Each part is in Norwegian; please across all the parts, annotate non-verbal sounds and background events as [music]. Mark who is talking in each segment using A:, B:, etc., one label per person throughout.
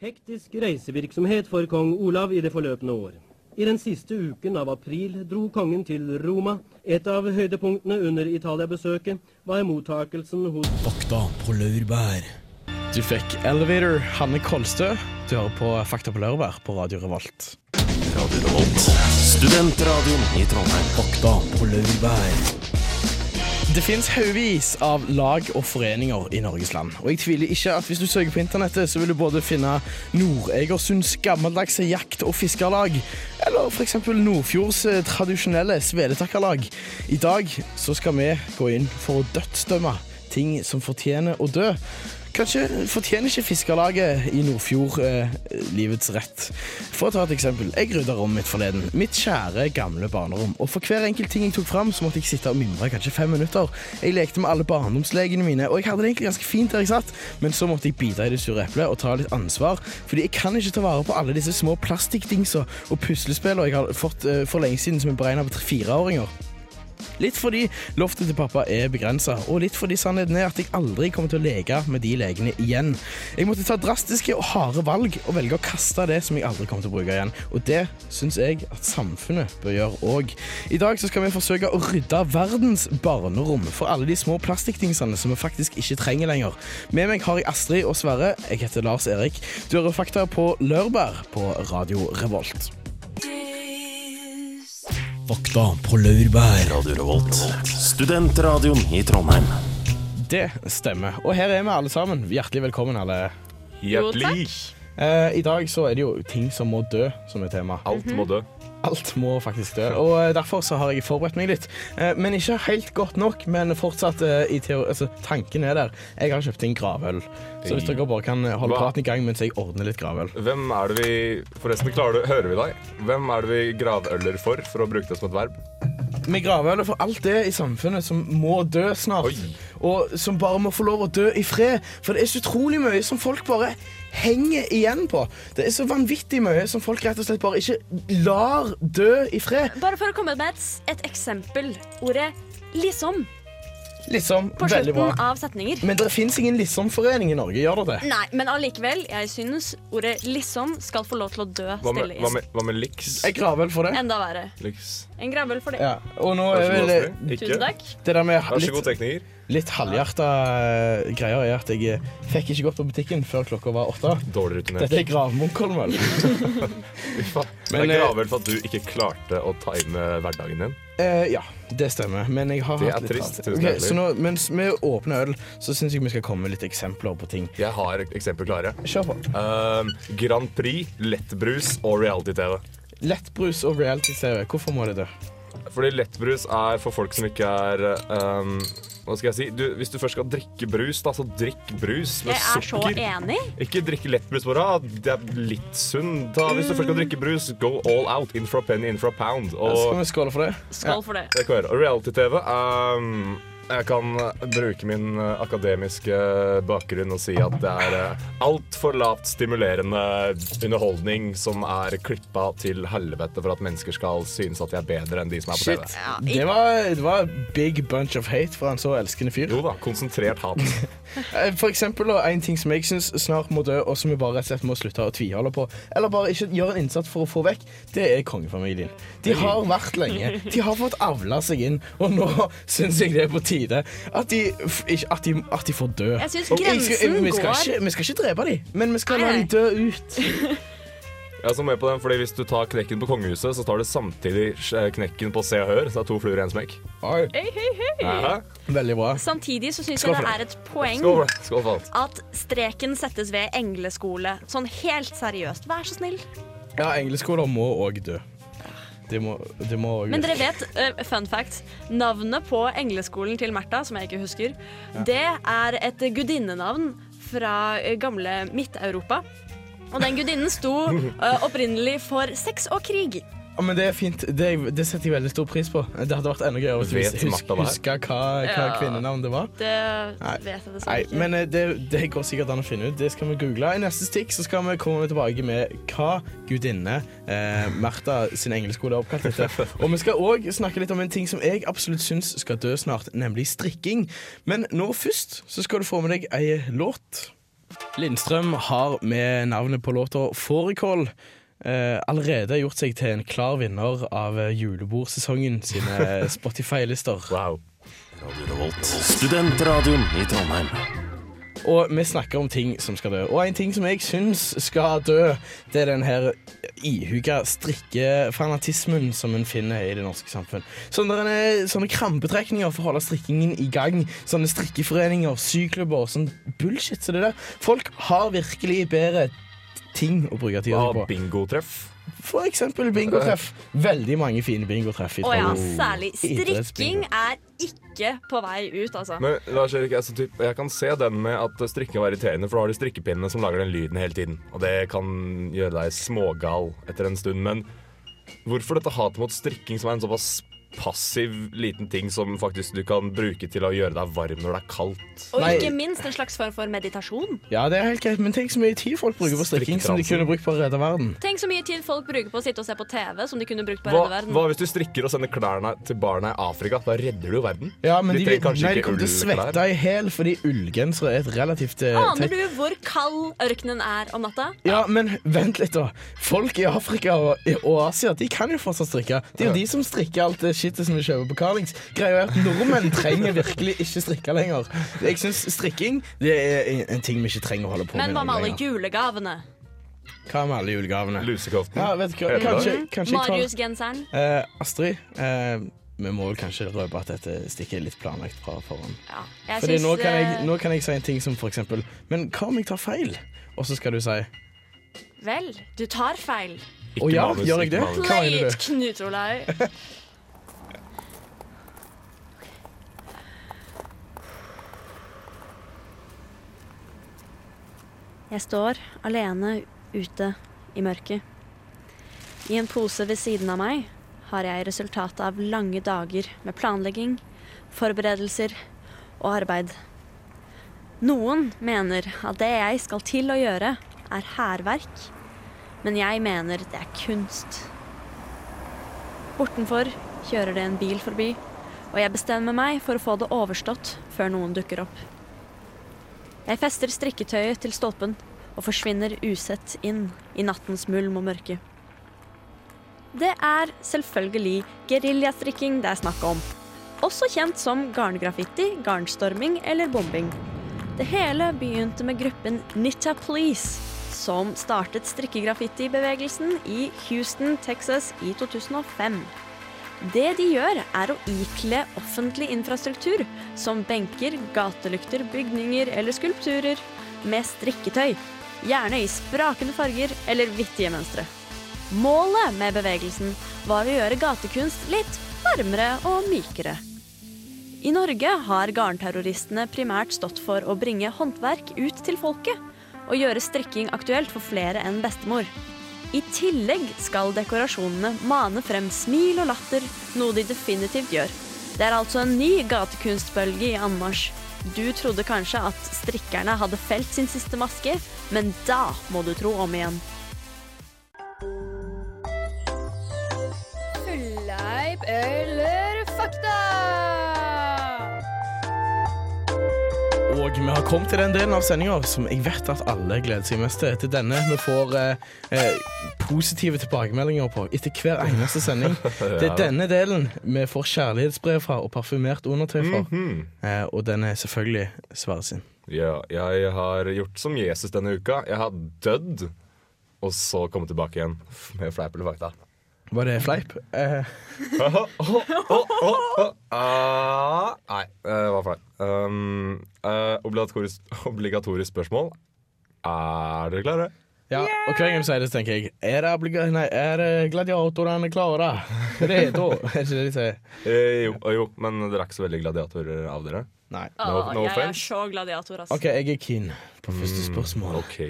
A: Hektisk reisevirksomhet for kong Olav i det forløpende år. I den siste uken av april dro kongen til Roma. Et av høydepunktene under Italia-besøket var mottakelsen hos
B: Fakta på laurbær.
C: Du fikk Elevator, Hanne Kolstø. Du hører på Fakta på laurbær på Radio Revolt.
D: Radio Revolt. Studentradioen i Trondheim.
B: Fakta på laurbær.
C: Det finnes haugevis av lag og foreninger i Norges land. Og jeg tviler ikke at hvis du søker på internettet, så vil du både finne Nord-Egersunds gammeldagse jakt- og fiskerlag, eller f.eks. Nordfjords eh, tradisjonelle sveletakkerlag. I dag så skal vi gå inn for å dødsdømme ting som fortjener å dø. Kanskje fortjener ikke fiskerlaget i Nordfjord eh, livets rett. For å ta et eksempel. Jeg rydda rommet mitt forleden. Mitt kjære, gamle barnerom. Og for hver enkelt ting jeg tok fram, så måtte jeg sitte og mimre kanskje fem minutter. Jeg lekte med alle barndomslegene mine, og jeg hadde det egentlig ganske fint der jeg satt, men så måtte jeg bite i det sure eplet og ta litt ansvar, fordi jeg kan ikke ta vare på alle disse små plastikkdingsa og puslespillene jeg har fått eh, for lenge siden som er beregna på tre-fireåringer. Litt fordi loftet til pappa er begrensa, og litt fordi sannheten er at jeg aldri kommer til å leke med de legene igjen. Jeg måtte ta drastiske og harde valg og velge å kaste det som jeg aldri kommer til å bruke igjen. Og det syns jeg at samfunnet bør gjøre òg. I dag så skal vi forsøke å rydde verdens barnerom for alle de små plastikkdingsene som vi faktisk ikke trenger lenger. Med meg har jeg Astrid og Sverre. Jeg heter Lars Erik. Du hører Fakta på Lørbær på Radio Revolt.
B: Fakta på laurbær.
D: Radio Revolt. Studentradioen i Trondheim.
C: Det stemmer. Og her er vi alle sammen. Hjertelig velkommen, alle.
E: Hjertelig.
C: Eh, I dag så er det jo ting som må dø som er tema.
F: Mhm.
E: Alt må dø.
C: Alt må faktisk dø. Og eh, derfor så har jeg forberedt meg litt. Eh, Men ikke helt godt nok, men fortsatt eh, i teori... Altså, tanken er der. Jeg har kjøpt inn gravøl. Så hvis dere bare kan eh, holde
E: Hva?
C: praten i gang mens jeg ordner litt gravøl.
E: Hvem er det vi Forresten, klarer du, hører vi deg? Hvem er det vi gravøller for, for å bruke det som et verb?
C: Vi gravøler for alt det i samfunnet som må dø snart.
E: Oi.
C: Og som bare må få lov å dø i fred. For det er så utrolig mye som folk bare henger igjen på. Det er så vanvittig mye som folk rett og slett bare ikke lar dø i fred.
F: Bare for å komme med et, s- et eksempel. Ordet liksom
C: Liksom,
F: på
C: veldig bra.
F: slutten av setninger.
C: Men det fins ingen liksom-forening i Norge, gjør det det?
F: Nei, men allikevel, jeg synes ordet liksom skal få lov til å dø
E: Hva med,
F: stille i
E: hva med, hva med liks?
C: Jeg gravøl for det.
F: Enda verre.
E: liks.
F: En gravøl for det.
C: Ja. Og nå er
E: Vær så
C: vel
E: god,
C: det,
E: Astrid. Ikke.
F: Tusen takk.
C: det der med
E: Vær så god,
C: litt,
E: tekniker.
C: litt halvhjerta eh, greier er at jeg eh, fikk ikke gått på butikken før klokka var åtte.
E: Dårlig rutinert.
C: Dette er
E: [laughs]
C: gravmunkholmøl.
E: Fy faen. Det
C: Men,
E: er
C: eh,
E: gravøl for at du ikke klarte å time hverdagen din.
C: Eh, ja, det stemmer. Men jeg har
E: Det
C: hatt
E: er
C: litt
E: trist,
C: travelt.
E: tusen
C: Ok,
E: hjertelig.
C: så nå, mens vi åpner øl, så syns jeg vi skal komme med litt eksempler på ting.
E: Jeg har eksempel klare.
C: Kjør på.
E: Ehm, Grand Prix, lettbrus og reality-TV.
C: Lettbrus og reality-TV. Hvorfor må det dø?
E: Fordi lettbrus er for folk som ikke er ehm, Hva skal jeg si? Du, hvis du først skal drikke brus, da, så drikk brus med
F: Jeg er så
E: sukker.
F: enig.
E: Ikke drikk lettbrus bare. ah, Det er litt sunn. Ta, hvis du først skal drikke brus, go all out. In for a penny, in for a pound.
C: Skal
E: Og
C: vi skåle for det?
F: Skål for det.
E: det kan jeg gjøre. Og reality-TV ehm, Jeg kan bruke min eh, akademiske eh, bakgrunn og si at det er altfor lavt stimulerende underholdning som er klippa til helvete for at mennesker skal synes at de er bedre enn de som er på
C: Shit.
E: TV.
C: Det var, det var big bunch of hate fra en så elskende fyr.
E: Jo da, konsentrert hat.
C: Eh, For eksempel da, en ting som jeg syns snart må dø, og som vi bare rett og slett må slutte å tviholde på, eller bare ikke gjøre en innsats for å få vekk, det er kongefamilien. De har vært lenge. De har fått avla seg inn, og nå [laughs] syns jeg det er på tide at de, f- ikke- at de, at de får dø.
F: Jeg syns
C: Og jeg skal-
F: grensen
C: vi skal,
F: går
C: ikke, vi skal ikke drepe dem, men vi skal
F: Nei,
C: la
F: nei.
C: dem dø ut.
F: [laughs]
E: Jeg er så med på den, fordi Hvis du tar knekken på kongehuset, så tar du samtidig eh, knekken på Se og Hør. Så det er to fluer i én smekk.
F: Hei, hei, hei.
E: Hæ?
C: Veldig bra.
F: Samtidig så syns
C: Skål
F: jeg
C: for
F: det
C: det.
F: er et poeng
E: Skål, for- skål for alt.
F: at streken settes ved engleskole. Sånn helt seriøst. Vær så snill.
C: Ja, engleskoler må òg dø. Det må, det må også
F: Men
C: dø.
F: dere vet, eh, fun fact, navnet på engleskolen til Märtha, som jeg ikke husker, det er et gudinnenavn fra eh, gamle Midt-Europa. Og den gudinnen sto
C: [laughs]
F: eh, opprinnelig for sex og krig.
C: Ja, men det er fint. Det, det setter jeg veldig stor pris på. Det hadde vært enda gøyere hvis
E: Vet
C: vi
E: Martha
C: husk,
E: det
C: huska
E: her?
C: hva, hva
F: Ja.
C: kvinnenavn det var.
F: Det
C: Nei.
F: vet jeg dessverre
C: Nei,
F: ikke.
C: men eh, det, det går sikkert an å finne ut. Det skal vi google. I neste stikk så skal vi komme tilbake med hva gudinne eh, Martha sin engelskole er oppkalt
F: [laughs]
C: etter. Og vi skal òg snakke litt om en ting som jeg absolutt syns skal dø snart, nemlig strikking. Men nå først så skal du få med deg ei låt. Lindstrøm har med navnet på låta Fårikål eh, allerede gjort seg til en klar vinner av eh, julebordsesongen
F: [laughs]
C: sine Spotify-lister.
E: Wow.
D: Radio Revolt. Studentradioen i Trondheim.
C: Og vi snakker om ting som skal dø. Og en ting som jeg syns skal dø, det er den her ihuga strikkefanatismen som en finner i det norske samfunn. Sånne, eh, sånne krampetrekninger for å holde strikkingen i gang. Sånne strikkeforeninger, syklubber, sånn bullshit. Så det der. Folk har virkelig bedre ting å bruke tida
E: Ah,
C: si på.
E: Bingotreff.
C: For eksempel bingotreff. Veldig mange fine bingotreff. i
F: Å ja,
C: Trondheim.
F: særlig.
C: Idrettsbingo.
F: Strikking er ikke på vei ut, altså.
E: Men Lars Erik, altså, typ, jeg kan se den med at strikking var irriterende, for da har de strikkepinnene som lager den lyden hele tiden. Og det kan gjøre deg smågal etter en stund. Men hvorfor dette hatet mot strikking, som er en såpass passiv liten ting som faktisk du kan bruke til å gjøre deg varm når det er kaldt?
F: Og
C: Nei.
F: ikke minst en slags form for meditasjon.
C: Ja, det er helt greit, men tenk så mye tid folk bruker på strikking som de kunne brukt på å redde verden.
F: Tenk så mye tid folk bruker på å sitte og se på TV som de kunne brukt på å
E: Hva,
F: redde verden.
E: hva hvis du strikker og sender klærne til barna i Afrika? Da redder du jo verden.
C: Ja, men de,
E: trenger kanskje
C: nei, de
E: ikke
C: kommer til å
E: ullklær.
C: svette i hæl fordi ullgensere er et relativt eh,
F: Aner
C: tett
F: Ah, du hvor kald ørkenen er om natta?
C: Ja, men vent litt, da. Folk i Afrika og, og Asia de kan jo fortsatt strikke. Det er jo de som strikker alt det shitet som vi kjøper på Carlings. Greia er at nordmenn trenger virkelig ikke strikke lenger. Jeg syns strikking det er en- en ting vi ikke trenger å holde på
F: Men
C: med.
F: hva med alle
C: lenger.
F: julegavene?
C: Hva med alle julegavene?
E: Lusekoften.
C: Ja, vet du hva, kanskje, kanskje jeg tar
F: Marius-genseren?
C: Eh, Astrid, eh, vi må vel kanskje røpe at dette stikket er litt planlagt fra forhånd.
F: Ja. Jeg
C: Fordi
F: syns
C: nå kan, jeg,
F: eh,
C: nå kan jeg si en ting som for eksempel Men hva om jeg tar feil? Og så skal du si Å
F: Vel, du tar feil.
C: ja,
E: manus,
C: gjør
E: ikke
C: jeg det?
E: manus.
C: Hva
F: Play
C: mener
F: it,
C: du?
F: Knut Olaug. Jeg står alene ute i mørket. I en pose ved siden av meg har jeg resultatet av lange dager med planlegging, forberedelser og arbeid. Noen mener at det jeg skal til å gjøre, er hærverk. Men jeg mener det er kunst. Bortenfor kjører det en bil forbi, og jeg bestemmer meg for å få det overstått før noen dukker opp. Jeg fester strikketøyet til stolpen og forsvinner usett inn i nattens mulm og mørke. Det er selvfølgelig geriljastrikking det er snakk om. Også kjent som garngraffiti, garnstorming eller bombing. Det hele begynte med gruppen Nitta Please, som startet strikkegraffiti-bevegelsen i Houston, Texas i 2005. Det de gjør, er å ikle offentlig infrastruktur, som benker, gatelykter, bygninger eller skulpturer, med strikketøy. Gjerne i sprakende farger eller vittige mønstre. Målet med bevegelsen var å gjøre gatekunst litt varmere og mykere. I Norge har garnterroristene primært stått for å bringe håndverk ut til folket og gjøre strikking aktuelt for flere enn bestemor. I tillegg skal dekorasjonene mane frem smil og latter, noe de definitivt gjør. Det er altså en ny gatekunstbølge i anmarsj. Du trodde kanskje at strikkerne hadde felt sin siste maske, men da må du tro om igjen.
G: Tulleip eller fakta?
C: Og vi har kommet til den delen av sendingen som jeg vet at alle gleder seg mest til. Til denne vi får eh, eh, positive tilbakemeldinger på etter hver eneste sending. Det er denne delen vi får kjærlighetsbrev fra og parfymert undertøy fra. eh, og den er selvfølgelig Sverre sin.
E: Ja, jeg har gjort som Jesus denne uka. Jeg har dødd, og så kommet tilbake igjen med fleip eller fakta. [laughs]
C: Var det fleip? Eh,
E: Ah, nei, det var feil. Um, eh, obligatorisk, obligatorisk spørsmål. Er dere klare?
C: ja, og hver gang jeg sier det, så tenker jeg Er det, obliga- nei, er det gladiatorene klare? Redo? Er det ikke det de sier?
E: Eh, jo, eh, jo, men dere er ikke så veldig gladiatorer av dere.
C: Nei.
E: No- no
F: Ah, jeg er
E: offense.
F: så gladiator, ass.
C: OK, jeg er keen på første spørsmål.
E: Ok,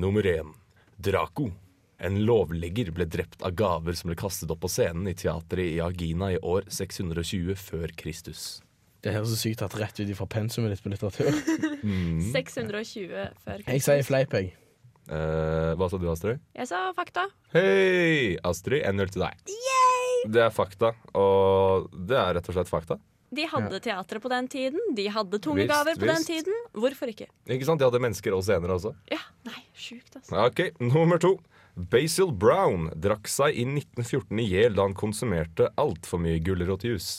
E: nummer én. Draco. En lovligger ble drept av gaver som ble kastet opp på scenen i teatret i Agina i år 620 før Kristus.
C: Det høres så sykt at rett ut ifra pensumet ditt på litteratur.
F: 620 før
C: Jeg sier fleip, jeg.
E: Eh, hva sa du, Astrid?
F: Jeg sa fakta.
E: Hei, Astrid. 1-0 til deg. Det er fakta, og det er rett og slett fakta.
F: De hadde teatret på den tiden, de hadde tungegaver
E: Visst,
F: på den
E: visst.
F: tiden. Hvorfor ikke?
E: Ikke sant? De hadde mennesker og scener også.
F: Ja, nei, sjukt, altså.
E: Ok, nummer to. Basil Brown drakk seg i 1914 i hjel da han konsumerte altfor mye gulrotjus.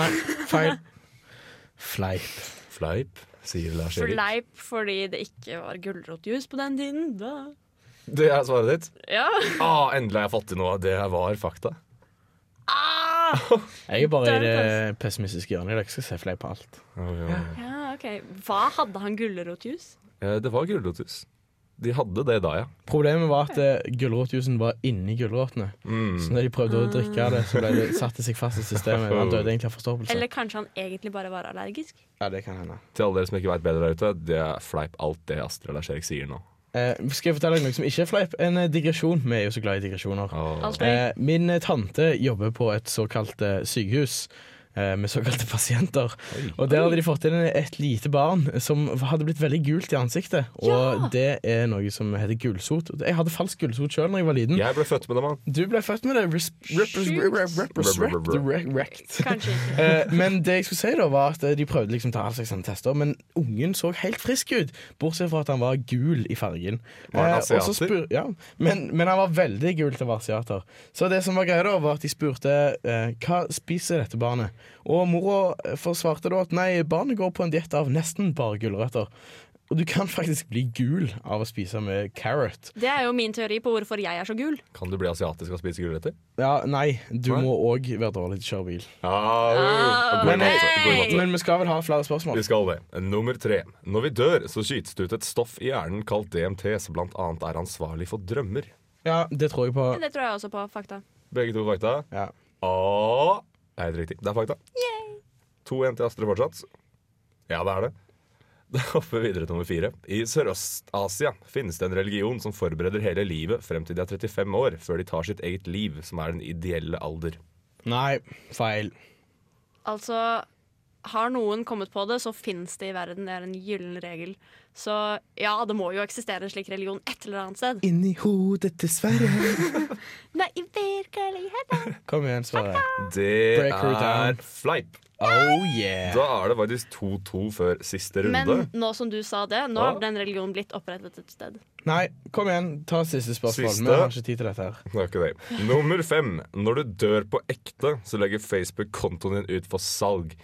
C: Nei, feil. Fleip.
E: Fleip, sier Lars Erik.
F: Fleip fordi det ikke var gulrotjuice på den tiden. Da.
E: Det er svaret ditt?
F: Ja.
E: Ah, endelig har jeg fått til noe. Det var fakta.
F: Ah!
C: Jeg er bare i
F: Der er
C: det pessimistiske hjørnet. i dag. Jeg skal se fleip på alt.
F: ja, ok. Hva hadde han gulrotjuice?
E: Eh, Det var gulrotjus. De hadde det da, ja.
C: Problemet var at eh, gulrotjuicen var inni gulrotene. Så når de prøvde å drikke av det, så ble det, satte det seg fast i systemet. Han døde egentlig av forstoppelse.
F: Eller kanskje han egentlig bare var allergisk?
C: Ja, det kan hende.
E: Til alle dere som ikke veit bedre der ute, det er fleip alt det Astrid og Lars Erik sier nå.
C: Eh, skal jeg fortelle deg noe som ikke er fleip? En eh, digresjon. Vi er jo så glad i digresjoner.
F: Alt det.
C: Eh, min eh, tante jobber på et såkalt eh, sykehus. eh, Med såkalte [laughs] pasienter. Og der hadde de fått inn et lite barn som hadde blitt veldig gult i ansiktet. Og
F: Ja!
C: det er noe som heter gulsot. Jeg hadde falsk gulsot sjøl da jeg var liten.
E: Jeg ble født med det, mann.
C: Du ble født med det. Res- rep-
F: Sjukt.
C: rep- rep- rep-
E: Rep- rep-
C: rep- Wrecked.
F: Kanskje ikke.
C: Eh, Men det jeg skulle si da var at de prøvde liksom å ta all slags sånne tester, men ungen så helt frisk ut, bortsett fra at han var gul i fargen.
E: Var han
C: Eh, og så
E: asiater?
C: spur- ja, men, men han var veldig gul til å være asiater. Så det som var greia da, var at de spurte eh, hva spiser dette barnet? Og mora eh, forsvarte da at nei, barnet går på en diett av nesten bare gulrøtter. Og du kan faktisk bli gul av å spise med carrot.
F: Det er jo min teori på hvorfor jeg er så gul.
E: Kan du bli asiatisk og spise gulrøtter?
C: Ja, nei, du
E: Nei.
C: må òg være dårlig til å kjøre bil.
E: Ah,
F: Ah,
E: god
C: Men,
E: måte. God måte.
C: men vi skal vel ha flere spørsmål?
E: Vi skal det. Nummer tre. Når vi dør, så skytes det ut et stoff i hjernen kalt DMT, som blant annet er ansvarlig for drømmer.
C: Ja, det tror jeg på.
F: Det tror jeg også på fakta.
E: Begge to fakta.
C: Ja.
E: Ah, er helt riktig. Det er fakta. To igjen til Astrid fortsatt. Ja, det er det. Da hopper vi videre til nummer fire. I Sørøst-Asia finnes det en religion som forbereder hele livet frem til de er 35 år, før de tar sitt eget liv, som er den ideelle alder.
C: Nei, feil.
F: Altså, har noen kommet på det, så fins det i verden. Det er en gyllen regel. Så ja, det må jo eksistere en slik religion et eller annet sted.
C: Inni hodet, dessverre.
F: Nei, i virkeligheten.
C: [laughs] Kom igjen, Sverre.
E: Det
C: Break her down.
E: er fleip.
C: Oh yeah.
E: Da er det faktisk 2-2 før siste runde.
F: [laughs] Men
E: [laughs]
F: nå som du sa det, nå
E: Ja.
F: har den religionen blitt opprettet et sted.
C: Nei, kom igjen. Ta siste spørsmål.
E: Siste.
C: Vi har ikke tid til dette her.
E: Det er ikke det. Nummer fem. Når du dør på ekte, så legger Facebook kontoen din ut for salg.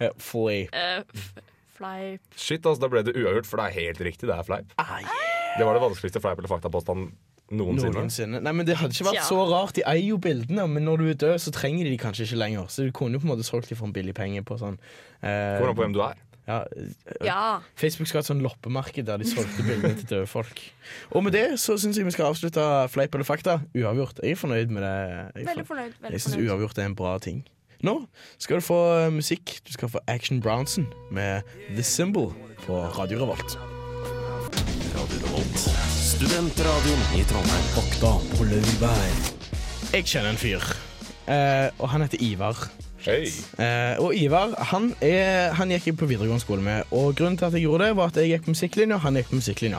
C: Ja, Fly.
F: Eh, f- Fleip.
E: Shit, altså, da ble det uavgjort, for det er helt riktig. Det er fleip. Det var det vanskeligste fleip eller fakta-påstanden noensinne.
C: Noensinne. Nei, men Det hadde ikke vært
F: Tja.
C: så rart. De eier jo bildene, men når du er død, så trenger de de kanskje ikke lenger. Så du kunne jo på en måte solgt dem for en billig penge på sånn eh,
E: Kommer an på hvem du er.
C: ja, eh,
F: Ja.
C: Facebook skal ha et sånn loppemarked der de solgte bildene til døde folk. Og med det så syns jeg vi skal avslutte Fleip eller fakta. Uavgjort. Jeg er fornøyd med det. Jeg er
F: Veldig fornøyd. Veldig
C: Jeg syns
F: fornøyd.
C: uavgjort er en bra ting. Nå skal du få eh, musikk. Du skal få Action Bronson med The Symbol på Radio Revolt.
D: Studentradioen i Trondheim.
B: Fakta på laurbær.
C: Jeg kjenner en fyr, eh, og han heter Ivar.
E: Hei.
C: Eh, og Ivar han, er, han gikk jeg på videregående skole med. Og grunnen til at jeg gjorde det var at jeg gikk på musikklinja, og han gikk på musikklinja.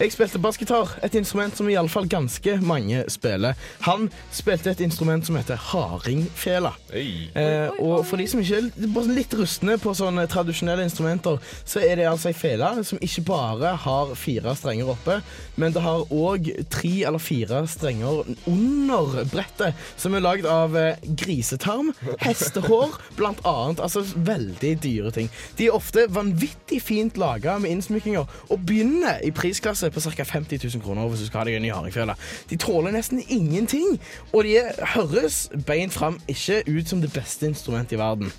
C: Jeg spilte bassgitar, et instrument som iallfall ganske mange spiller. Han spilte et instrument som heter hardingfela.
E: Hei.
C: Eh, og for de som ikke er bare sånn litt rustne på sånne tradisjonelle instrumenter, så er det altså ei fele som ikke bare har fire strenger oppe, men det har òg tre eller fire strenger under brettet, som er lagd av eh, grisetarm, hestehår, blant annet. Altså veldig dyre ting. De er ofte vanvittig fint laga med innsmykninger, og begynner eh, i prisklasse på ca. 50 000 kroner hvis du skal ha deg en ny hardingfele. De tåler nesten ingenting, og de er, høres beint fram ikke ut som det beste instrumentet i verden.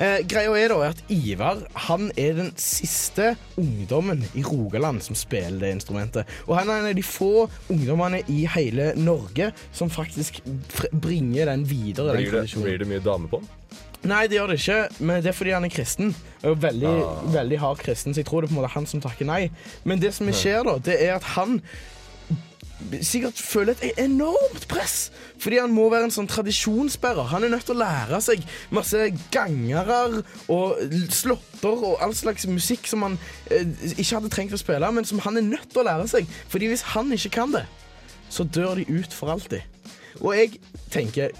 C: Eh, greia er da at Ivar han er den siste ungdommen i Rogaland som spiller det instrumentet. Og han er en av de få ungdommene i hele Norge som faktisk fr- bringer den videre. den
E: Blir det,
C: tradisjonen.
E: blir det mye dame på den?
C: Nei, det gjør det ikke, men det er fordi han er kristen. Og veldig, veldig hard kristen, så jeg tror det er på en måte han som takker nei. Men det som skjer, da, det er at han sikkert føler et enormt press. Fordi han må være en sånn tradisjonsbærer. Han er nødt til å lære seg masse gangere og l- slåtter og all slags musikk som han eh, ikke hadde trengt å spille, men som han er nødt til å lære seg. Fordi hvis han ikke kan det, så dør de ut for alltid. Og jeg tenker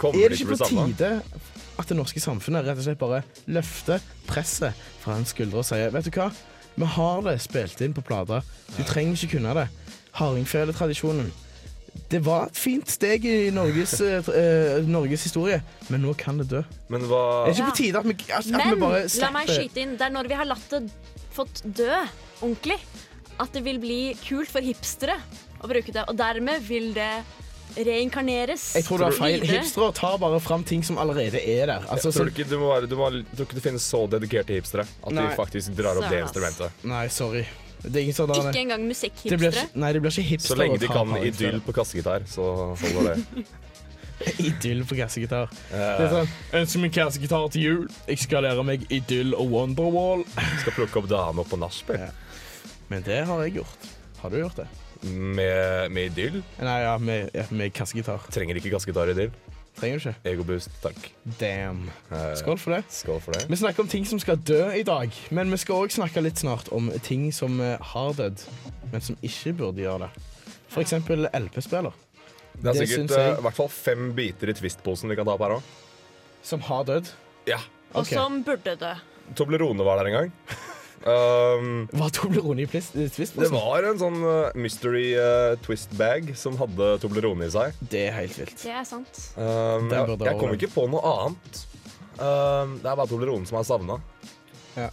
E: Kommer
C: er
E: du
C: det ikke
E: ikke bli
C: på
E: samla?
C: tide at det norske samfunnet rett og slett bare løfter presset fra en skulder og sier Vet du hva, vi har det spilt inn på plater. Du trenger ikke kunne det. Hardingfeletradisjonen. Det var et fint steg i
E: [laughs]
C: Norges, eh, tr- eh, Norges historie, men nå kan det dø. Er
E: Men hva
C: det ikke på tide at vi, at, at vi
F: Men
C: bare
F: la meg
C: slipper
F: skyte inn. Det er når vi har latt det fått dø ordentlig, at det vil bli kult for hipstere å bruke det. Og dermed vil det reinkarneres.
C: Jeg tror det er feil.
F: videre.
C: Hipstere tar bare fram ting som allerede er der. Altså,
E: Tror
C: som-
E: du ikke du må være, du må, tror ikke det finnes så dedikerte hipstere at
C: Nei.
E: de faktisk drar opp det
F: Søren, ass.
E: instrumentet?
C: Nei, sorry. Det er ingen sånn
F: Ikke
C: der,
F: engang
C: det blir,
F: musikkhipstere.
C: ikke- Nei, det blir ikke hipster
E: Så lenge
C: å
E: de
C: ta
E: kan
C: hardingfele.
E: idyll på kassegitar, så holder det.
C: Idyll på kassegitar. Det er sånn, Ønsker meg kassegitar til jul. Jeg skal lære meg Idyll og Wonderwall.
E: Skal plukke opp damene på nachspiel
C: Ja. Men det har jeg gjort. Har du gjort det?
E: med, med idyll.
C: Nei, ja, med, ja, med kassegitar.
E: Trenger ikke kassegitar-idyll.
C: Trenger du ikke.
E: Egoboost, takk.
C: Damn.
E: Eh,
C: Skål for det.
E: Skål for det.
C: Vi snakker om ting som skal dø i dag, men vi skal òg snakke litt snart om ting som eh, har dødd, men som ikke burde gjøre det. For eksempel LP-spiller,
E: Det er
C: det
E: sikkert
C: syns jeg-
E: eh, i hvert fall fem biter i Twist-posen vi kan ta opp her òg.
C: som har dødd.
E: Ja.
F: Og
C: ok.
F: som burde dø.
E: Toblerone var der en
C: [laughs]
E: gang. Um,
C: Var Toblerone i plis- i twist?
E: det var en sånn eh, mystery eh, twist-bag som hadde Toblerone i seg.
C: Det er helt vilt.
F: Det er sant.
E: Um,
C: Den
E: jeg
C: burde
E: jeg
C: ha
E: kom
C: vært.
E: ikke på noe annet. Um, det er bare Toblerone som er savna.
C: Ja.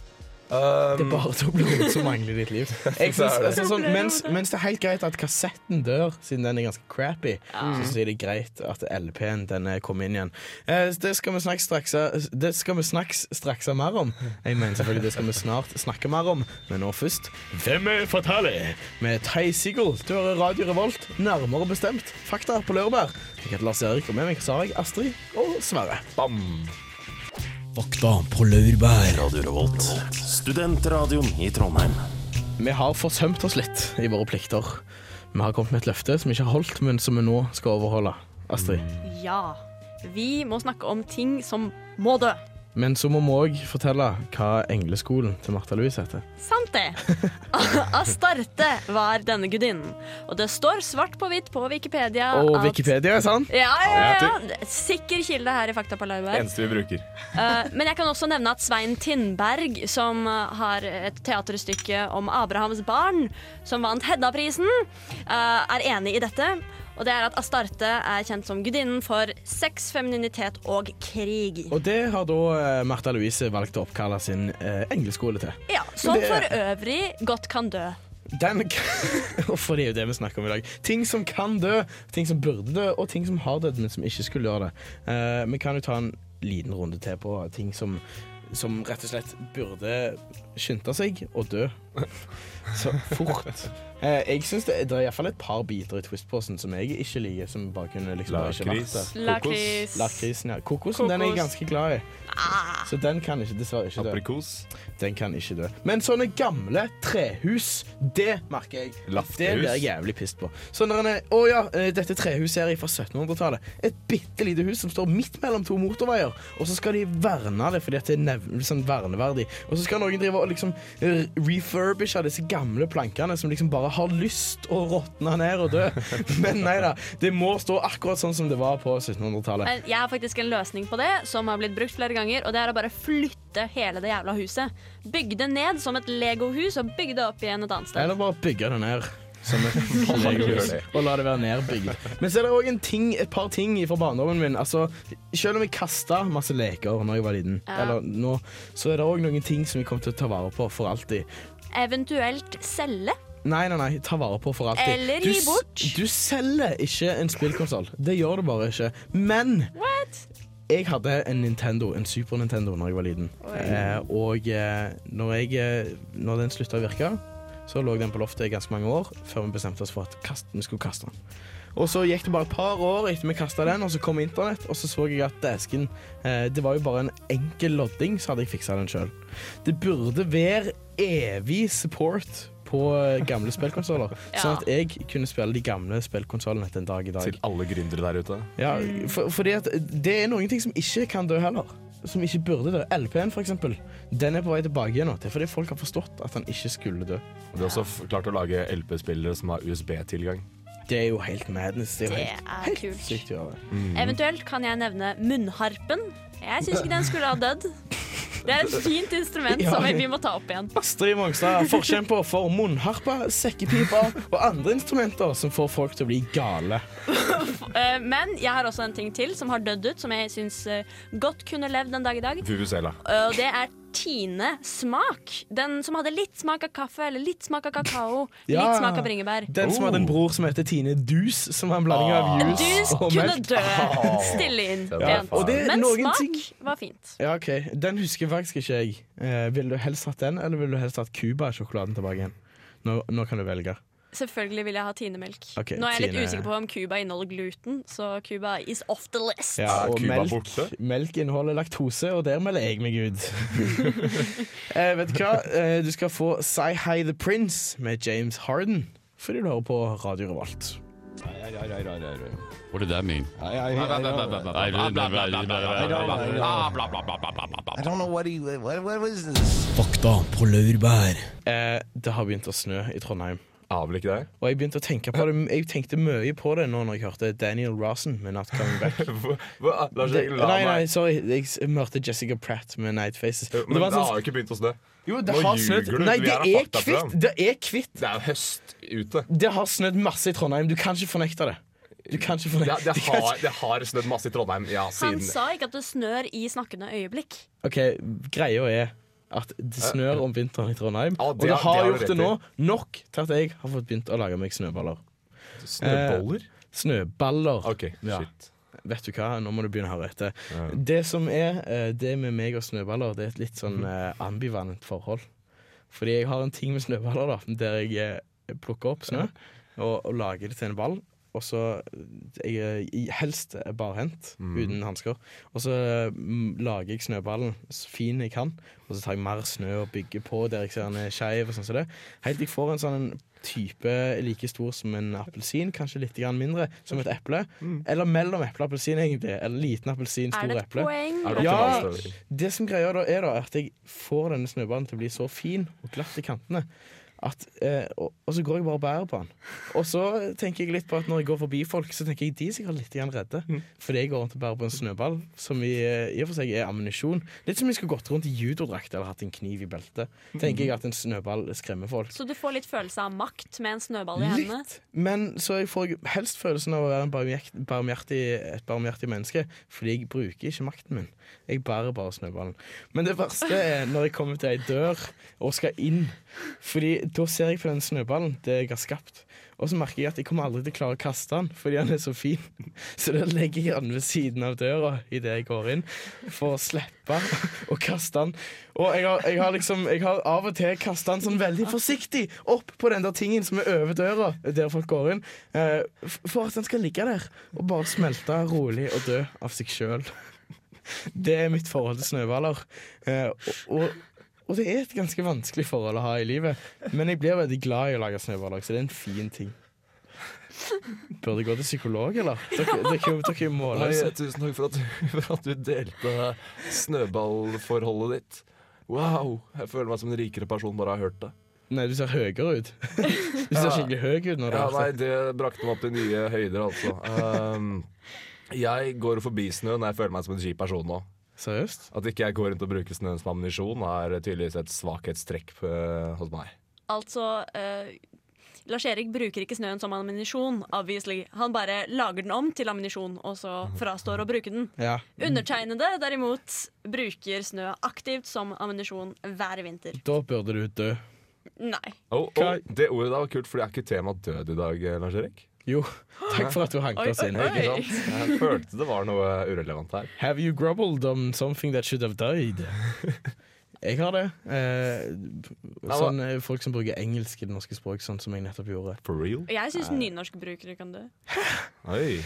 E: Um,
C: Det er bare Toblerone som mangler i ditt
E: [laughs]
C: liv. Jeg synes,
E: Det er det.
C: altså, sånn, mens, mens det er helt greit at kassetten dør, siden den er ganske crappy, så synes jeg det er greit at LP-en den er kommet inn igjen. Eh, det skal vi snakke straks, det skal vi snakkes straks mer om. Jeg mener selvfølgelig det skal vi snart snakke mer om, men nå først Hvem er fatale? Med Ty Seagull. Du hører Radio Revolt, nærmere bestemt. Fakta på lørdag. Jeg heter Lars-Erik, og med meg så har jeg Astrid og Sverre.
E: bam!
B: Fakta på laurbær.
D: Radio Revolt. Studentradioen i Trondheim.
C: Vi har forsømt oss litt i våre plikter. Vi har kommet med et løfte som vi ikke har holdt, men som vi nå skal overholde. Astrid.
F: Ja. Vi må snakke om ting som må dø.
C: Men så må vi òg fortelle hva engleskolen til Martha Louise heter.
F: Sant
C: [laughs]
F: det. Astarte var denne gudinnen. Og det står svart på hvitt på Wikipedia
C: Og
F: at-
C: Wikipedia, sant?
F: Ja, ja, ja. ja. Sikker kilde her i Fakta på laurbær.
E: Eneste vi bruker.
F: Eh, men jeg kan også nevne at Svein Tindberg, som eh, har et teaterstykke om Abrahams barn, som vant Hedda-prisen, eh, er enig i dette. Og det er at Astarte er kjent som gudinnen for sex, femininitet og krig.
C: Og det har da eh, Martha Louise valgt å oppkalle sin eh, engleskole til.
F: Ja, Som
C: det-
F: for øvrig godt kan dø.
C: Den [laughs] For det er jo det vi snakker om i dag. Ting som kan dø, ting som burde dø, og ting som har dødd, men som ikke skulle gjøre det. Eh, vi kan jo ta en liten runde til på ting som, som rett og slett burde skynde seg å dø. Så fort. Eh, jeg synes det, det er iallfall et par biter i Twist-posen som jeg ikke liker. Som bare kunne liksom bare ikke vært
E: Lakris.
C: der.
F: Lakris.
C: Lakrisen, ja. Kokosen den er jeg
F: Kokos.
C: ganske glad i. Så den kan ikke, dessverre ikke dø.
E: Aprikos.
C: Den kan ikke dø. Men sånne gamle trehus, det merker jeg.
E: Laftehus.
C: Det blir jeg jævlig pissed på. Sånn der en- Å ja, eh, dette trehuset her er fra 1700-tallet. Et bitte lite hus som står midt mellom to motorveier, og så skal de verne det fordi at det er nev sånn verneverdig. Og så skal noen drive og liksom eh, refurbishe disse gamle plankene som liksom bare har lyst å råtne ned og dø. [laughs] Men nei da, det må stå akkurat sånn som det var på 1700-tallet.
F: Men jeg har faktisk en løsning på det, som har blitt brukt flere ganger. Og det er å bare flytte hele det jævla huset. Bygge det ned som et legohus, og bygge det opp igjen et annet sted.
C: Eller bare bygge det ned. Som
E: [laughs]
C: et
E: Kan man gjøre
C: legohus,
E: det?
C: og la det være nedbygd. Men så er det òg et par ting fra barndommen min. Altså, selv om jeg kasta masse leker da jeg var liten,
F: Ja.
C: eller nå, så er det òg noen ting som jeg kommer til å ta vare på for alltid.
F: Eventuelt selge.
C: Nei, nei, nei, ta vare på for alltid.
F: Eller
C: Du
F: gi
C: s-
F: bort.
C: Du selger ikke en spillkonsoll. Det gjør du bare ikke. Men
F: What?
C: jeg hadde en Nintendo, en Super Nintendo, når jeg var liten. Eh, og eh, når, jeg, eh, når den slutta å virke, så lå den på loftet i ganske mange år før vi bestemte oss for at kast, vi skulle kaste den. Og så gikk det bare et par år etter vi kasta den, og så kom internett, og så så jeg at dæsken eh, Det var jo bare en enkel lodding, så hadde jeg fiksa den sjøl. Det burde være evig support på eh, gamle spillkonsoller,
F: Ja.
C: sånn at jeg kunne spille de gamle spillkonsollene til en dag i dag.
E: Til alle gründere der ute.
C: Ja, for, fordi at det er noen ting som ikke kan dø heller. Som ikke burde dø. LP-en, for eksempel. Den er på vei tilbake igjen nå. Det er fordi folk har forstått at han ikke skulle dø.
E: Og De har også f- klart å lage LP-spillere som har USB-tilgang.
C: Det er jo helt madness. Det er jo
F: Det
C: helt,
F: er
C: helt
F: kult.
C: sykt å gjøre.
F: Eventuelt kan jeg nevne munnharpen. Jeg syns ikke den skulle ha dødd. Det er et fint instrument
C: Ja.
F: som vi- vi må ta opp igjen.
C: Astrid Mongstad er forkjemper for munnharpa, sekkepiper og andre instrumenter som får folk til å bli gale.
F: Eh, Men jeg har også en ting til som har dødd ut, som jeg syns eh, godt kunne levd en dag i dag. Eh,
E: Fubusela.
F: Og det er Tine smak. Den som hadde litt smak av kaffe, eller litt smak av kakao,
C: Ja.
F: litt smak av bringebær.
C: Den som hadde en bror som heter Tine Dus, som var en blanding av
F: Dus
C: juice og
F: Ah. kunne
C: melk.
F: dø. Stille inn.
E: Ja,
F: pent.
C: og det er
F: Men
C: noen
F: smak
C: ting-
F: var fint.
C: Ja, ok. Den husker faktisk ikke jeg. Eh, Ville du helst hatt den, eller ville du helst hatt Cuba-sjokoladen tilbake igjen? Nå, nå kan du velge.
F: Selvfølgelig vil jeg ha tinemelk.
C: Ok,
F: Nå er jeg litt
C: Tine-
F: usikker på om Cuba inneholder gluten, så Cuba is off the list.
C: Ja,
E: Er
C: og
E: Cuba
C: melk,
E: borte?
C: melk inneholder laktose, og der melder jeg meg ut. [laughs] eh, vet du hva? Eh, du skal få Say Hi The Prince med James Harden, fordi du hører på Radio Revolt.
H: What did that mean? I
I: I don't know what he what what was this?
B: Fakta på laurbær.
C: Eh, det har begynt å snø i Trondheim.
E: Aner ikke det.
C: Og jeg begynte å tenke på det Jeg tenkte mye på det nå når jeg hørte Daniel Rosen med Not Coming Back.
E: [laughs] Hva- hva- Lars
C: Det,
E: Erik, la
C: nei, nei,
E: meg
C: sorry. Jeg s- hørte Jessica Pratt med Night Faces.
E: Jo,
C: Og
E: Men det,
C: var sånn-
E: har jo ikke begynt å snø.
C: jo, det
E: Nå
C: har
E: ljuger
C: snødd.
E: du.
C: Nei,
E: Vi
C: det
E: er
C: er
E: faktaprogram.
C: kvitt! Det er kvitt!
E: Det er jo høst ute.
C: Det har snødd masse i Trondheim. Du kan ikke fornekte det. Du kan ikke
E: Det,
C: [laughs] fornekte
E: det, har, det har snødd masse i Trondheim ja,
F: Han
E: siden
F: sa ikke at det snør i snakkende øyeblikk.
C: Ok, Greia er at det snør om vinteren i Trondheim.
E: Eh, Ja,
C: og
E: det
C: det
E: har-
C: har
E: det har du
C: gjort
E: rett
C: det nå nok til at jeg har fått begynt å lage meg snøballer.
E: Snøboller?
C: Eh, Snøballer.
E: OK,
C: Ja.
E: shit.
C: Vet du hva, nå må du begynne å høre etter. Det som er eh, det med meg og snøballer, det er et litt sånn
E: [laughs]
C: eh, ambivalent forhold. Fordi jeg har en ting med snøballer, da, der jeg eh, plukker opp snø og, og lager det til en ball. Og så eh, jeg, eh, Helst barhendt, uten hansker. Og så eh, m- lager jeg snøballen så fin jeg kan, og så tar jeg mer snø og bygger på der jeg ser den er skeiv. og sånn som det. Helt til jeg får en sånn type like stor som en appelsin, kanskje litt grann mindre, som et eple. Eller mellom eple og appelsin, egentlig. Eller liten appelsin,
F: Er
C: stor
F: det et
C: eple.
F: poeng?
E: Er det
C: Ja.
E: optimal støvler?
C: Det som greier da er da at jeg får denne snøballen til å bli så fin og glatt i kantene at, eh, og, og så går jeg bare og bærer på den. Og så tenker jeg litt på at når jeg går forbi folk, så tenker jeg de er sikkert litt grann redde. Fordi jeg går rundt og bærer på en snøball som i, eh, i og for seg er ammunisjon. Litt som om jeg skulle gått rundt i judodrakt eller hatt en kniv i beltet. Tenker jeg at en snøball skremmer folk.
F: Så du får litt følelse av makt med en snøball i hendene?
C: Litt, men så jeg får helst følelsen av å være en barmhjert- barmhjertig, et barmhjertig menneske, fordi jeg bruker ikke makten min. Jeg bærer bare snøballen. Men det verste er når jeg kommer til ei dør og skal inn, Fordi da ser jeg på den snøballen det jeg har skapt. Og så merker jeg at jeg kommer aldri til å klare å kaste den fordi den er så fin. [laughs] Så da legger jeg den ved siden av døra idet jeg går inn, for å slippe å kaste den. Og jeg har, jeg har liksom Jeg har av og til kasta den sånn veldig forsiktig opp på den der tingen som er over døra, der folk går inn, eh, f- for at den skal ligge der og bare smelte rolig og dø av seg sjøl. Det er mitt forhold til snøballer. Eh, og, og, og det er et ganske vanskelig forhold å ha i livet. Men jeg blir veldig glad i å lage snøballer, så det er en fin ting. Burde jeg gå til psykolog, eller? Dere, dere, dere er målløse.
E: tusen takk for at, du, [laughs] delte snøballforholdet ditt. Wow! Jeg føler meg som en rikere person bare har hørt det.
C: Nei, du ser høyere ut. Du ser skikkelig høy ut når du
E: Ja,
C: har
E: nei,
C: det.
E: Det brakte meg opp til nye høyder, altså. Ehm, jeg går forbi snø når jeg føler meg som en kjip person nå.
C: Seriøst?
E: At ikke jeg går rundt og bruker snøen som ammunisjon, er tydeligvis et svakhetstrekk eh, hos meg.
F: Altså eh, Lars-Erik bruker ikke snøen som ammunisjon, obviously. Han bare lager den om til ammunisjon, og så frastår å bruke den.
C: Ja.
F: Undertegnede derimot bruker snø aktivt som ammunisjon hver vinter.
C: Da burde du dø.
F: Nei.
E: Oh, oh,
C: Hva-
E: det ordet der var kult, for det er ikke tema død i dag, eh, Lars Erik.
C: Jo, takk for at du hanka oss inn.
E: Ikke sant? Jeg følte det var noe urelevant her.
C: Have you grubbled on something that should have died? Jeg har det. Eh,
E: hva-
C: sånn, eh, folk som bruker engelsk i det norske språk, sånn som jeg nettopp gjorde.
E: For real?
F: Jeg syns nynorskbrukere kan dø.
E: Oi.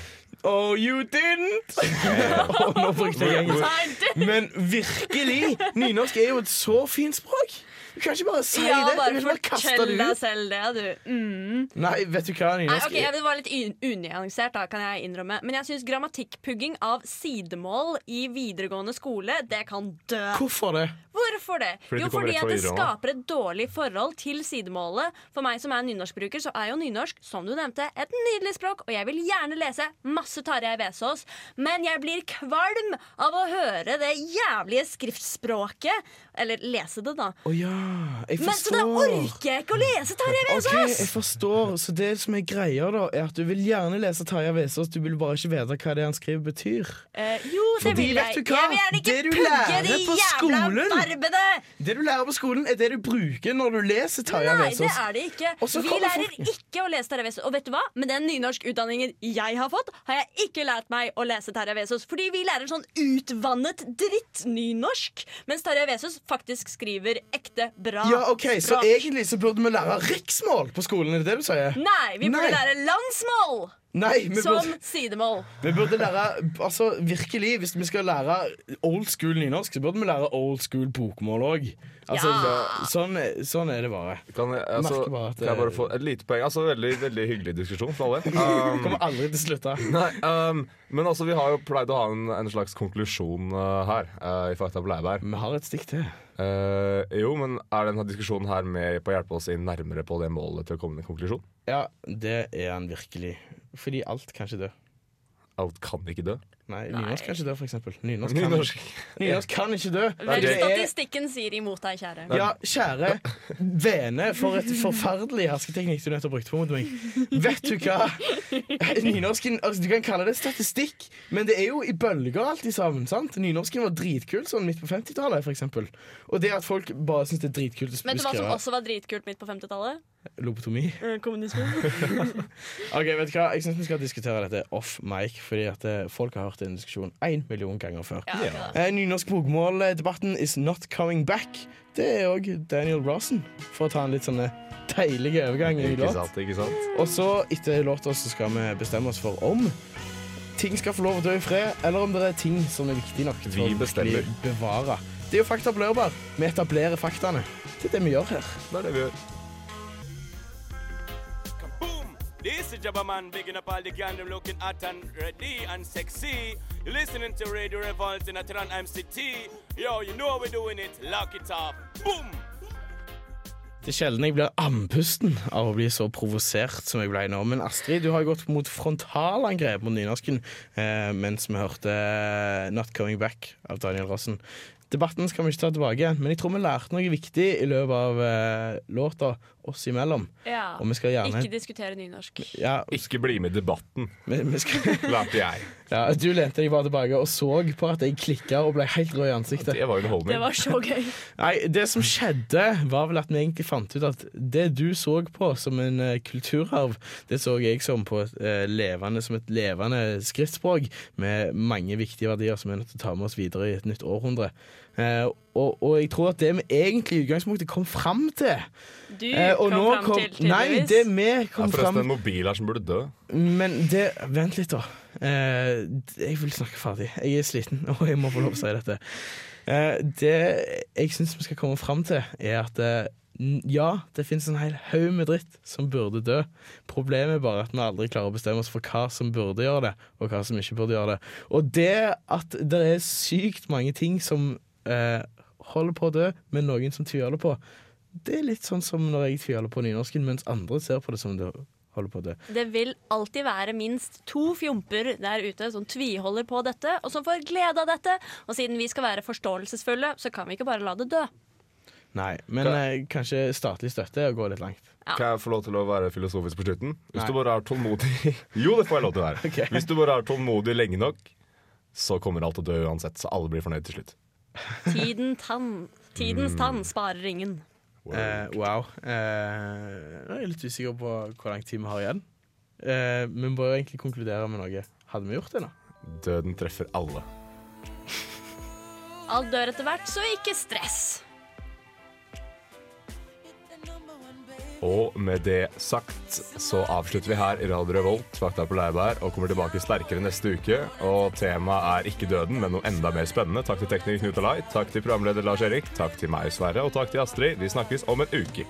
C: Oh, you didn't! Å, [laughs] nå brukte jeg engelsk. Men virkelig! Nynorsk er jo et så fint språk. Du kan ikke bare si
F: Ja,
C: det. Du kan
F: bare
C: ikke bare kaste
F: fortell
C: det
F: deg
C: ut.
F: selv det, du. Mm.
C: Nei, vet du hva, Nina?
F: Nei, ok, jeg vil være litt un- unyansert, da, kan jeg innrømme. Men jeg syns grammatikkpugging av sidemål i videregående skole, det kan dø.
C: Hvorfor det?
F: Hvorfor det?
E: Fordi
F: jo,
E: det kommer
F: fordi
E: rett
F: at
E: fra
F: det
E: videregående.
F: skaper et dårlig forhold til sidemålet. For meg som er nynorskbruker, så er jo nynorsk, som du nevnte, et nydelig språk, og jeg vil gjerne lese masse Tarjei Vesaas, men jeg blir kvalm av å høre det jævlige skriftspråket. Eller lese det, da.
C: Å ja, jeg
F: Men så da
C: forstår.
F: orker jeg ikke å lese Tarjei
C: Ok,
F: Vesaas!
C: jeg forstår. Så det som er greia, da, er at du vil gjerne lese Tarjei Vesaas, du vil bare ikke vite hva det han skriver, betyr.
F: Eh, jo, det
C: Fordi,
F: vil
C: vet
F: jeg.
C: du hva?
F: Jeg vil gjerne ikke
C: Det du
F: pugge
C: lærer
F: de
C: på
F: jævla
C: skolen-
F: verbene!
C: Det du lærer på skolen, er det du bruker når du leser Tarjei
F: Nei, det
C: Vesaas.
F: er det ikke.
C: Og så
F: Vi
C: kommer
F: lærer
C: folk-
F: ikke å lese Terje Vesaas. Og vet du hva? Med den nynorskutdanningen jeg har fått, har jeg ikke lært meg å lese Terje Vesaas. Fordi vi lærer sånn utvannet drittnynorsk, mens Terje Vesaas faktisk skriver ekte bra
C: Ja, ok, Så
F: språk.
C: egentlig så burde vi lære riksmål på skolen, er det det du sier?
F: Nei, vi burde
C: Nei.
F: lære landsmål
C: Nei, vi
F: som
C: burde,
F: sidemål.
C: vi burde lære Altså, virkelig, hvis vi skal lære old school nynorsk, så burde vi lære old school bokmål òg. Altså,
F: Ja.
C: sånn, sånn er det bare.
E: Kan jeg, altså,
C: Merker bare at det-
E: kan jeg bare få et lite poeng? Altså, veldig, veldig hyggelig diskusjon
C: [laughs]
E: fra alle.
C: Vi
E: Um,
C: kommer aldri til å slutte.
E: nei, um, men altså, vi har jo pleid å ha en, en slags konklusjon uh, her. Uh, I Fakta på Leibær.
C: Vi har et stikk til.
E: Eh, jo, men er denne diskusjonen her med på å hjelpe oss inn nærmere på det målet til å komme til en konklusjon?
C: Ja, det er han virkelig. Fordi alt kan ikke dø.
E: Alt kan ikke dø.
C: Nei, nynorsk kan ikke dø, for eksempel. Nynorsk kan,
E: [laughs] Nynorsk.
C: nynorsk kan ikke dø.
F: Vel,
E: det-
F: statistikken sier imot deg, kjære.
C: Ja, kjære vene, for et forferdelig hersketeknikk du nettopp brukte på mot meg. Vet du hva? Nynorsken, altså, Du kan kalle det statistikk, men det er jo i bølger alltid sammen. sant? Nynorsken var dritkul sånn midt på 50-tallet, for eksempel. Og det at folk bare syns det er dritkult å
F: Vet du hva som
C: skrive
F: også var sånn dritkult midt på 50-tallet?
C: lobotomi.
F: Eh, Kommunismen.
C: [laughs] Ok, vet du hva? Jeg syns vi skal diskutere dette off mic, fordi at eh, folk har hørt denne diskusjonen én million ganger før.
F: Ja, det da.
C: Eh, Nynorsk bokmål-debatten is not coming back. Det er òg Daniel Rosen, for å ta en litt sånn eh, deilig overgang. i
E: Ikke
C: låt.
E: sant, ikke sant?
C: Og så, etter låta, så skal vi bestemme oss for om ting skal få lov å dø i fred, eller om det er ting som er viktig nok til
E: Vi
C: å virkelig
E: bestemmer.
C: bevare. Det er jo fakta på lørdag. Vi etablerer faktaene. Det er det vi gjør her.
E: Det er det vi gjør.
J: Boom! This is Jabba Man bigging up all the gandom looking hot and ready and sexy. You're listening to Radio Revolt in Atran MCT. Yo, you know how we're doing it. Lock it up. Boom!
C: Det er sjelden jeg blir andpusten av å bli så provosert som jeg ble nå. Men Astrid, du har gått mot frontalangrep mot nynorsken eh, mens vi hørte eh, 'Not Coming Back' av Daniel Rossen. Debatten skal vi ikke ta tilbake, igjen, men jeg tror vi lærte noe viktig i løpet av eh, låta oss imellom.
F: Ja.
C: Og vi skal gjerne
F: Ikke diskutere nynorsk.
C: ja,
E: Ikke bli med i debatten,
C: vi, vi skal,
E: lærte
C: [laughs]
E: jeg.
C: ja, Du lente deg bare tilbake og så på at jeg klikka og ble helt rød i ansiktet.
E: Det var jo underholdning.
F: Det var så [laughs] gøy.
C: Nei, det som skjedde var vel at vi egentlig fant ut at det du så på som en eh, kulturarv, det så jeg som på et, eh, levende, som et levende skriftspråk med mange viktige verdier som vi er nødt til å ta med oss videre i et nytt århundre. Eh, og, og jeg tror at det vi egentlig i utgangspunktet kom fram til
F: Du
C: eh, og
F: kom
C: nå
F: fram
C: kom-
F: til, tydeligvis.
C: Nei, det vi
E: Ja,
C: kom
E: forresten,
C: fram
E: en mobil her som burde dø.
C: men det Vent litt, da. Eh, jeg vil snakke ferdig. Jeg er sliten, og jeg må få lov å si dette. Eh, det jeg syns vi skal komme fram til, er at eh, n- ja, det fins en hel haug med dritt som burde dø. Problemet er bare at vi aldri klarer å bestemme oss for hva som burde gjøre det, og hva som ikke burde gjøre det. Og det at det er sykt mange ting som eh, holder på å dø, men noen som tviholder på, det er litt sånn som når jeg tviholder på nynorsken, mens andre ser på det som det holder på å dø.
F: Det vil alltid være minst to fjomper der ute som tviholder på dette, og som får glede av dette. Og siden vi skal være forståelsesfulle, så kan vi ikke bare la det dø.
C: Nei, men eh, kanskje statlig støtte er å gå litt langt.
E: Kan jeg få lov til å være filosofisk på slutten?
C: Nei.
E: Hvis du bare er tålmodig [laughs] Jo, det får jeg lov til å være.
C: [laughs] Ok.
E: Hvis du bare er tålmodig lenge nok, så kommer alt til å dø uansett. Så alle blir fornøyd til slutt.
F: Tiden tann. Tidens tann sparer ingen.
C: Eh, wow. Eh, nå er jeg litt usikker på hvor lang tid vi har igjen. Eh, vi må jo egentlig konkludere med noe. Hadde vi gjort det nå?
E: Døden treffer alle.
F: Alt dør etter hvert, så ikke stress.
J: Hit the number one, baby.
E: Og med det sagt så avslutter vi her i Radio Revolt, Fakta på Leirbær, og kommer tilbake sterkere neste uke. Og temaet er ikke døden, men noe enda mer spennende. Takk til tekniker Knut Alai, takk til programleder Lars Erik, takk til meg, Sverre, og takk til Astrid. Vi snakkes om en uke.